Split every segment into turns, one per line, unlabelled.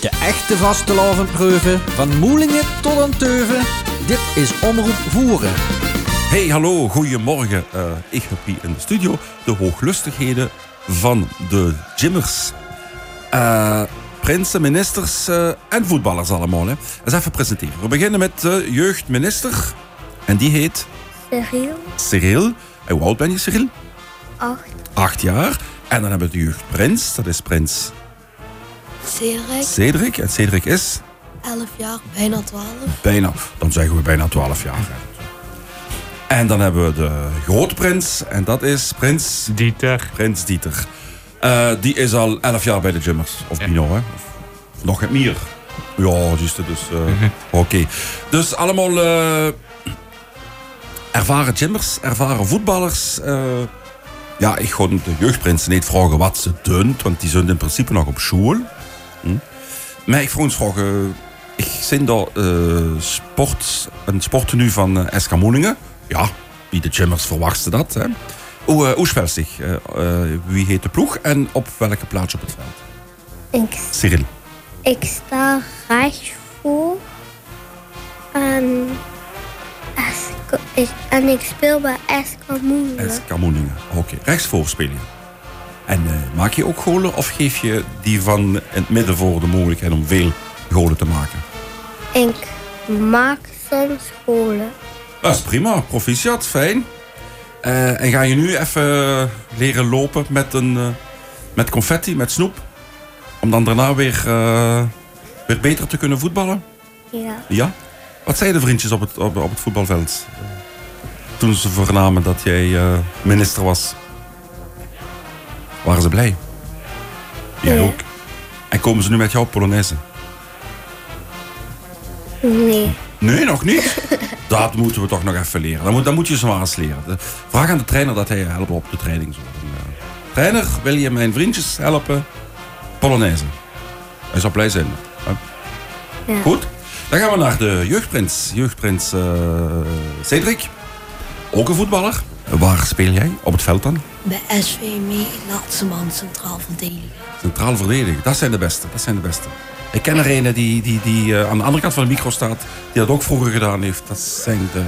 De echte vastelovenproeven, van moelingen tot een teuven. Dit is Omroep Voeren.
Hey, hallo, goedemorgen. Eh, ik heb hier in de studio de hooglustigheden van de gymmers. Eh, prinsen, ministers eh, en voetballers allemaal. Hè. Eens even presenteren. We beginnen met de jeugdminister. En die heet
Cyril,
Cyril. En hoe oud ben je, Cyril?
8,
Acht jaar. En dan hebben we de jeugdprins. Dat is prins
Cedric,
Cedric. En Cedric is
11 jaar, bijna 12.
bijna, dan zeggen we bijna 12 jaar. En dan hebben we de grootprins. En dat is prins
Dieter.
Prins Dieter. Eh, die is al 11 jaar bij de Jummers. Of
Ja.
Bino, hè? Of nog het meer. Ja, die is er dus. eh,
Mhm.
Oké. Dus allemaal eh, ervaren Jummers, ervaren voetballers. eh. ja, ik ga de jeugdprinsen niet vragen wat ze doen, want die zijn in principe nog op school. Hm? Maar ik vroeg eens vragen. Ik zin daar eh, sport, een sporttenu van eh, SK Moelingen. Ja, wie de Jummers verwachtte dat. Hè? Hoe, eh, hoe speelt zich? Eh, eh, wie heet de ploeg en op welke plaats op het veld?
ik,
Cyril.
ik sta rechts voor. En, SK ik, en ik speel bij SK Moelen.
SK Moelingen. Oké, rechtsvoor speel je. En eh, maak je ook golen of geef je die van in het midden voor de mogelijkheid om veel golen te maken?
Ik maak soms scholen.
Dat is prima, proficiat, fijn. Eh, en ga je nu even leren lopen met, een, eh, met confetti, met snoep? Om dan daarna weer, eh, weer beter te kunnen voetballen?
Ja.
Ja? Wat zeiden de vriendjes op het, op, op het voetbalveld? eh, Toen ze vernamen dat jij eh, minister was. Waren ze blij? Jij
Ja.
ook. En komen ze nu met jouw Polonaise?
Nee.
Nee, nog niet. dat moeten we toch nog even leren. Dan moet, dan moet je ze maar eens leren. De- Vraag aan de trainer dat hij je helpt op de training. Zo. En, eh, Trainer, wil je mijn vriendjes helpen? Polonaise. Hij zou blij zijn. Ja.
Ja.
Goed. Dan gaan we naar de jeugdprins. Jeugdprins eh, Cedric. Ook een voetballer. Waar speel jij? Op het veld dan?
Bij SVME, laatste man E centraal verdediger.
Centraal verdedigen. Dat zijn de beste. Dat zijn de beste. Ik ken er een die, die, die eh, aan de andere kant van de micro staat. Die dat ook vroeger gedaan heeft. Dat zijn de...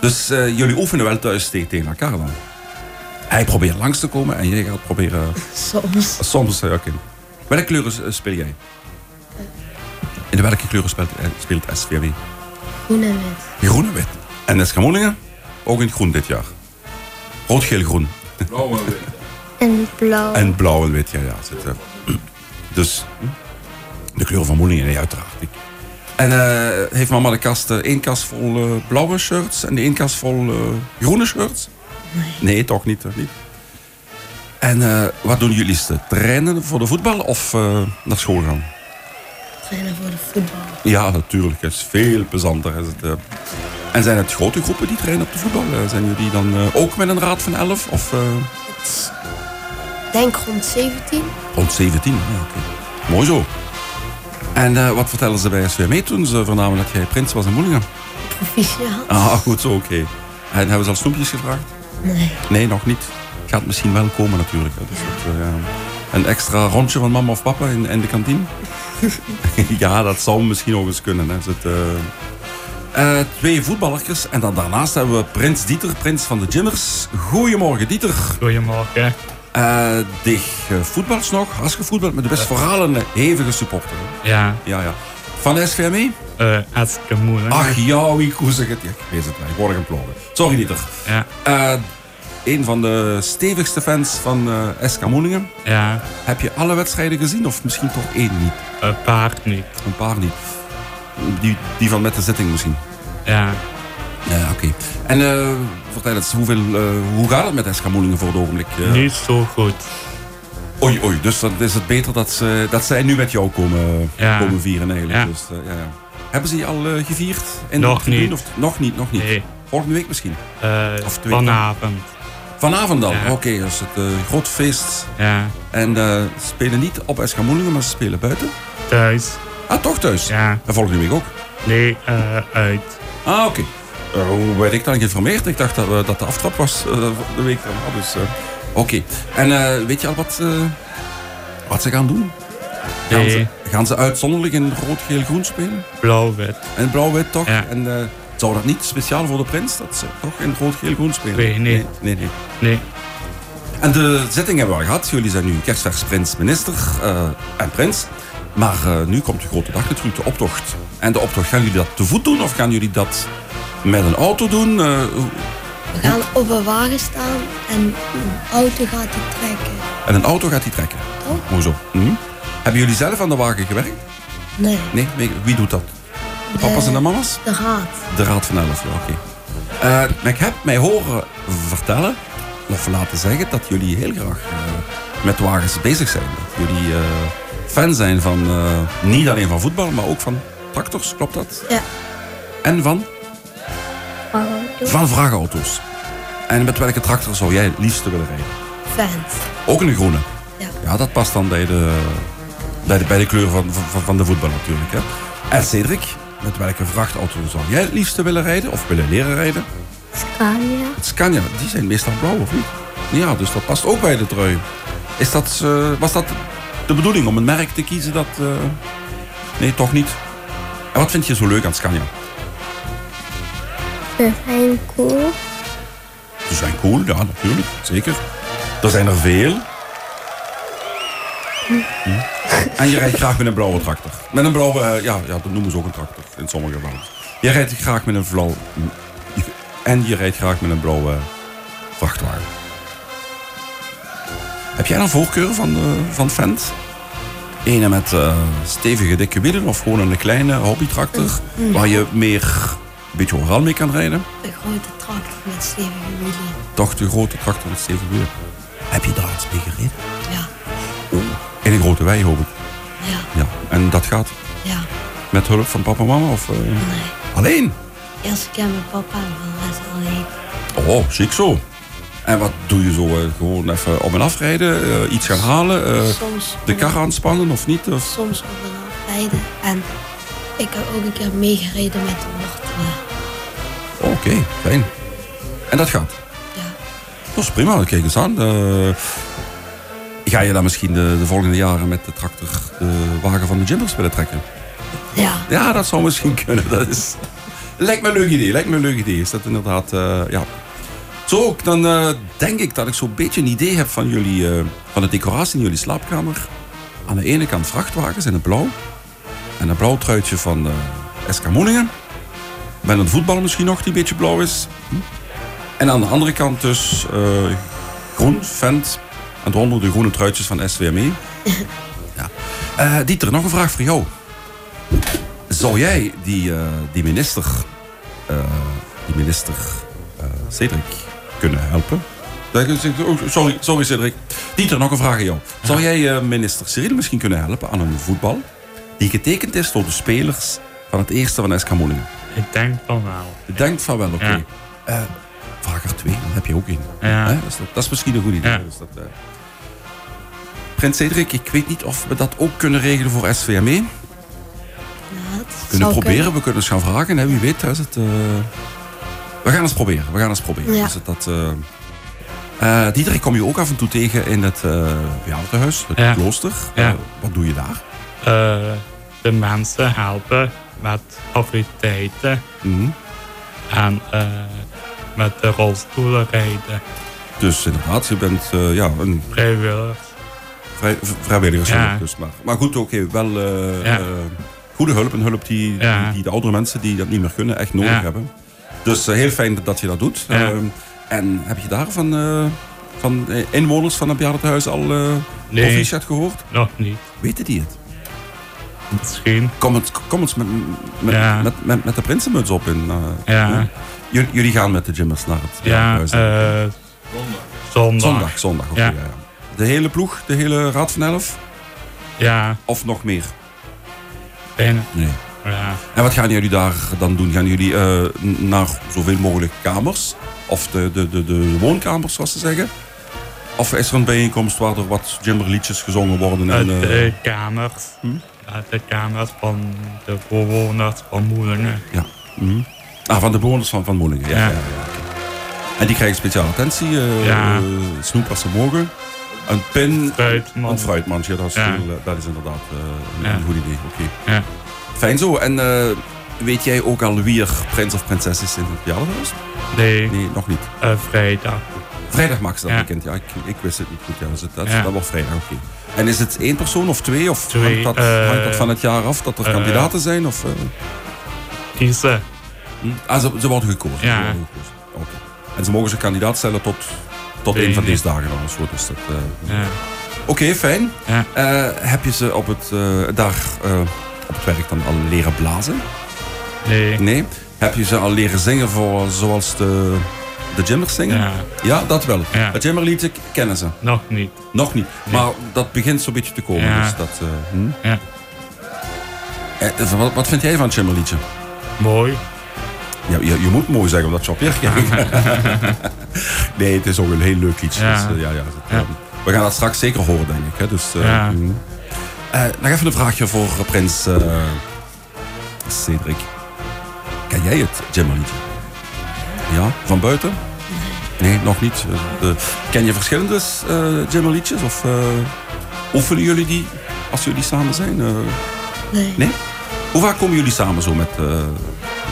Dus eh, jullie oefenen wel thuis te- tegen elkaar dan? Hij probeert langs te komen en jij gaat proberen...
Soms.
Soms, eh, oké. Welke kleuren eh, speel jij? In welke kleuren speelt, eh, speelt SVW?
Groen en wit.
Groen en wit. En SK Groningen? Ook in het groen dit jaar. Rood, geel, groen.
En blauw.
En blauw en wit, ja, ja. Zit, er. dus de kleur van Moelingen, nee, uiteraard. Ik- En eh, heeft mama de kast, eh, één kast vol eh, blauwe shirts en de één kast vol eh, groene shirts? Nee. toch niet. Toch niet. En eh, wat doen jullie? Is het Trainen voor de voetbal of eh, naar school gaan?
Trainen voor de voetbal.
Ja, natuurlijk. Het is veel plezanter. Is het, eh. En zijn het grote groepen die trainen op de voetbal? Eh, Zijn jullie dan eh, ook met een raad van 11? Of, eh,
Het is, denk rond 17.
Rond 17, ja, oké. Mooi zo. En eh, wat vertelden ze bij SVM toen ze vernamen dat jij prins was in Moelingen?
Proficiat.
Ah, goed zo, oké. En hebben ze al snoepjes gevraagd?
Nee.
Nee, nog niet. Gaat misschien wel komen natuurlijk. hè. Dus dat, eh, ja. Een extra rondje van mama of papa in, in de kantine? ja, dat zou misschien nog eens kunnen. Hè. Dus het, eh, eh, twee voetballertjes en dan daarnaast hebben we prins Dieter, prins van de Jimmers. Goedemorgen Dieter.
Goedemorgen.
Eh dich eh, voetbalt nog, als gevoetbald, maar de best vooral een hevige supporter. hè.
Ja,
Ja, ja. Van de SVME?
eh hartstikke moeilijk.
E? Ach ja, wie koezig het. Ja, ik weet het wel, ik word er geplogen. Sorry, Dieter.
Ja,
Eh een van de stevigste fans van eh SK Moelingen.
ja,
Heb je alle wedstrijden gezien of misschien toch één niet?
een eh, paard niet.
Een paar niet. Die, die van met de zitting misschien.
Ja,
Ja, oké. En eh, vertel eens, hoeveel, eh, hoe gaat het met SK Moelingen voor het ogenblik? Eh,
niet zo goed.
Oei, oei, dus dan is het beter dat, ze, dat zij nu met jou komen,
Ja.
komen vieren eigenlijk.
Ja.
Dus, eh, ja, ja. Hebben ze je al eh, gevierd? In
Nog
de tribune
niet.
Of, nog niet, nog niet.
Nee,
Volgende week misschien.
eh,
Of twee.
vanavond.
Vanavond dan? Oké,
Ja.
dus het eh, groot feest.
Ja,
En eh, ze spelen niet op SK Moelingen, maar ze spelen buiten.
thuis.
Ah, toch thuis?
Ja,
En volgende week ook?
nee, eh, uit.
Ah, oké. Eh, hoe werd ik dan geïnformeerd? Ik dacht dat, we- dat de aftrap was eh, de week daarna. Dus, eh, oké. En eh, weet je al wat, eh, wat ze gaan doen? Gaan ze,
Nee.
gaan ze uitzonderlijk in rood, geel, groen spelen?
Blauw-wit.
En blauw-wit toch?
Ja.
En eh, zou dat niet speciaal voor de prins dat ze toch in rood, geel, groen spelen?
Nee, nee.
nee, nee.
Nee.
En de zitting hebben we al gehad. Jullie zijn nu kerstvers prins, minister eh, en prins. Maar eh, nu komt de grote dag natuurlijk, de optocht. En de optocht, gaan jullie dat te voet doen of gaan jullie dat met een auto doen? Eh, hoe-
We gaan op een wagen staan en een auto gaat die trekken.
en een auto gaat die trekken.
Oh.
Hoezo? Hm? Hebben jullie zelf aan de wagen gewerkt?
Nee,
Nee, wie- wie doet dat? De papa's en de mama's?
de raad.
De Raad van Elf, ja, oké. Eh, maar ik heb mij horen vertellen, of laten zeggen, dat jullie heel graag eh, met wagens bezig zijn. Dat jullie eh, fan zijn van, eh, niet alleen van voetbal, maar ook van tractors, klopt dat?
Ja.
En van?
Waarom?
Van vrachtauto's. En met welke tractor zou jij het liefste willen rijden?
Fans.
Ook een groene.
Ja.
ja, dat past dan bij de, bij de, bij de kleur van, van, van de voetbal natuurlijk. Hè. En Cedric, met welke vrachtauto zou jij het liefste willen rijden of willen leren rijden?
Scania?
Het Scania, die zijn meestal blauw, of niet? Ja, dus dat past ook bij de trui. Is dat, eh, was dat de bedoeling om een merk te kiezen dat... eh, Nee, toch niet. En wat vind je zo leuk aan Scania?
Ze zijn cool.
Ze zijn cool, ja, natuurlijk. Zeker. Er zijn er veel. Hm. En je rijdt graag met een blauwe tractor. Met een blauwe, eh, ja, ja, dat noemen ze ook een tractor in sommige landen. Je rijdt graag met een blauw... En je rijdt graag met een blauwe vrachtwagen. Heb jij een voorkeur van, eh, van fans? Ene met eh, stevige dikke wielen of gewoon een kleine hobbytractor... waar je meer een beetje overal mee kan rijden?
Een grote tractor met stevige wielen.
toch de grote tractor met stevig wielen. Heb je daar iets mee gereden?
Ja,
In een grote wei, hoop ik.
ja,
Ja. En dat gaat
ja.
met hulp van papa en mama? Of, eh,
Nee.
Alleen?
Eerst keer met papa en van de rest alleen.
Oh, chic zo. En wat doe je zo? eh, gewoon even om en afrijden? eh, iets gaan halen? eh,
soms
de kar aanspannen of niet? Of...
soms op en af rijden. En ik heb ook een keer meegereden met de wortelen.
Oh, Oké, fijn. En dat gaat?
Ja.
Dat is prima, kijk eens aan. Eh, ga je dan misschien de, de volgende jaren met de tractor de wagen van de Jimbers willen trekken?
Ja,
Ja, dat zou misschien kunnen. Dat is... Lijkt me een leuk idee. Lijkt me een leuk idee. Is dat inderdaad, eh, ja. Zo ook, dan eh, denk ik dat ik zo'n beetje een idee heb van jullie, eh, van de decoratie in jullie slaapkamer. Aan de ene kant vrachtwagens in het blauw. En een blauw truitje van eh SK Moningen. Met een voetbal misschien nog die een beetje blauw is. Hm. En aan de andere kant dus eh, groen, vent. En daaronder de groene truitjes van SWME. E. ja. Eh, Dieter, nog een vraag voor jou. Zou jij die, eh, die minister, eh, die minister eh, Cedric, kunnen helpen? Daar kun je- oh, Sorry, sorry Cedric. Dieter, nog een vraag aan jou. Zou jij eh, minister Cyril misschien kunnen helpen aan een voetbal die getekend is door de spelers van het eerste van SK Moelingen?
Ik denk van wel.
Je denkt van wel, oké.
Ja.
Eh, vraag er twee, dan heb je ook één.
Ja.
Hè, Dus dat, dat is misschien een goed idee.
Ja.
Dus dat, eh. Prins Cedric, ik weet niet of we dat ook kunnen regelen voor SVME.
Nou,
ja het
kunnen
zou
proberen, we kunnen eens gaan vragen. Hè? Wie weet, hè, is het, eh, we gaan eens proberen. We gaan eens proberen.
Ja.
Is het dat, eh, eh, Dieter, ik kom je ook af en toe tegen in het eh bejaardentehuis, het
Ja.
klooster.
Ja.
Eh, wat doe je daar?
Eh, de mensen helpen met activiteiten
Mhm.
en eh, met de rolstoelen rijden.
Dus inderdaad, je bent eh, ja, een
Vrijwilligers.
vrij, v- vrijwilliger. zeg
Ja.
ik Dus, maar, maar goed, oké, wel eh,
Ja.
eh, goede hulp. Een hulp die,
Ja.
die, die de oudere mensen die dat niet meer kunnen echt nodig
Ja.
hebben. Dus eh, heel fijn dat je dat doet.
Ja.
Ehm, en heb je daar van, eh, van eh, inwoners van het bejaardentehuis al... eh
Nee,
proficiat gehoord?
nog niet.
Weten die het?
Misschien.
Kom eens, kom eens met, met,
Ja.
met, met, met de prinsenmuts op. In, eh,
Ja.
Jullie, jullie gaan met de gymmers naar het
Ja,
huis.
eh, zondag.
zondag. Zondag, oké,
Ja.
ja. ja. De hele ploeg, de hele Raad van Elf?
Ja,
Of nog meer?
bijna.
Nee.
Ja.
En wat gaan jullie daar dan doen? Gaan jullie eh, naar zoveel mogelijk kamers? Of de, de, de, de woonkamers, zoals ze zeggen? Of is er een bijeenkomst waar er wat gymmerliedjes gezongen worden? En,
de,
eh,
kamers. Ja, de kamers van de bewoners van Moelingen.
Ja. Mhm. Ah, van de bewoners van, van Moelingen. Ja, ja.
Ja.
ja, oké. En die krijgen speciale attentie. eh,
Ja.
eh, snoep als ze mogen. Een pin.
Fruitman.
Een fruitmand, ja, dat is,
Ja.
heel, eh, dat is inderdaad eh, een,
Ja.
een goed idee. Oké.
Ja.
Fijn zo. En eh, weet jij ook al wie er prins of prinses is in het verjaardagshuis?
Nee,
Nee, nog niet.
eh, vrijdag.
Vrijdag maakt ze dat
Ja.
bekend. Ja, ik, ik wist het niet goed. Ja, dus dat, dat,
Ja.
dat wordt vrijdag, oké. En is het één persoon of twee? Of
Twee,
hangt, dat,
eh,
hangt dat van het jaar af dat er
eh,
kandidaten zijn? Of, eh,
Kiezen.
hm? Ah, ze, ze worden gekozen.
Ja.
Ze worden gekozen. Oké. En ze mogen zich kandidaat stellen tot, tot
Weet
één van
niet.
deze dagen. Dan, of zo. Dus dat, eh,
Ja.
Oké, fijn.
Ja.
Eh, heb je ze op het, eh, daar eh, op het werk dan al leren blazen?
Nee.
Nee. Heb je ze al leren zingen voor, zoals de, de jammers zingen?
Ja.
Ja, dat wel.
Ja.
Het jammerlied kennen ze.
Nog niet.
Nog niet. Maar dat begint zo'n beetje te komen.
Ja.
Dus dat, eh, hm.
Ja.
Eh, eh, wat, wat vind jij van het jammerliedje?
Mooi.
Ja, je, je moet mooi zeggen, omdat je op je kijkt. nee, het is ook een heel leuk liedje.
Ja.
Dus, eh, ja, ja, dat, eh,
Ja.
we gaan dat straks zeker horen, denk ik. Hè? Dus, eh,
Ja.
hm. Eh, nog even een vraagje voor eh, prins eh, Cedric. Ken jij het jammerliedje? Ja, van buiten? Nee, nog niet. Eh, de- ken je verschillende eh jammerliedjes? Of eh, oefenen jullie die als jullie samen zijn? Eh,
Nee.
nee? Hoe vaak komen jullie samen zo met, eh,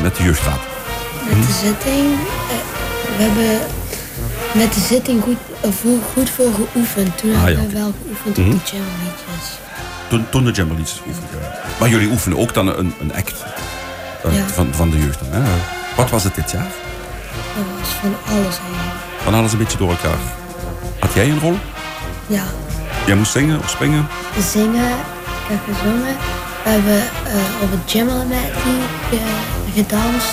met de jeugdraad?
Met de
Hm.
zitting. eh, we hebben met de zitting goed, eh, voor, goed voor geoefend. Toen
Ah, ja,
hebben we
oké.
wel geoefend
Mhm.
op de jammerliedjes.
Toen, toen de jammerliedjes oefenen. ja. Maar jullie oefenen ook dan een, een act eh,
Ja.
van, van de jeugd. dan, Hè? Wat was het dit jaar?
Dat was van alles eigenlijk.
Van alles een beetje door elkaar. Had jij een rol?
Ja,
Jij moest zingen of springen?
zingen. Ik heb gezongen. We hebben eh, op het jammer met die gedanst.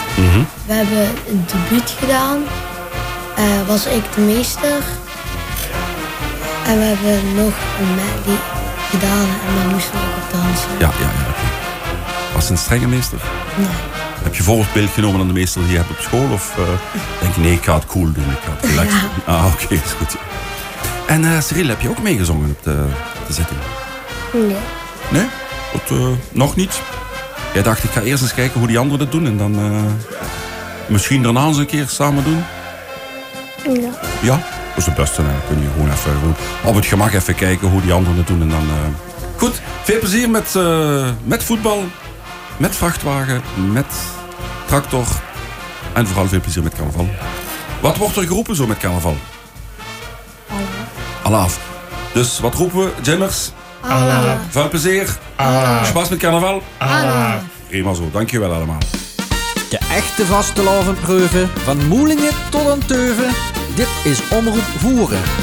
We hebben een debuut gedaan. Eh, was ik de meester. En we hebben nog een medley gedaan en daar moesten we ook op dansen.
Ja, ja, ja. oké. Was het een strenge meester?
Nee.
Heb je voorbeeld genomen aan de meester die je hebt op school? Of eh, denk je, nee, ik ga het cool doen, ik ga het relaxed doen? Ah, oké, is goed. ja. En eh, Cyril, heb je ook meegezongen op de, op de zitting?
Nee.
Nee? Tot, eh, nog niet? Jij dacht, ik ga eerst eens kijken hoe die anderen dat doen en dan eh, misschien daarna eens een keer samen doen?
Ja.
Ja, dat is het beste. hè. Dan kun je gewoon even gewoon op het gemak even kijken hoe die anderen het doen. En dan, eh, Goed, veel plezier met, eh, met voetbal, met vrachtwagen, met tractor. En vooral veel plezier met carnaval. Wat wordt er geroepen zo met carnaval? Alaaf. Dus wat roepen we? Jammers,
Allah.
veel plezier.
Allah.
Spas met carnaval.
Allah.
Prima zo, dankjewel allemaal.
De echte vastelovenpreuven van Moelingen tot aan Teuven. Dit is Omroep Voeren.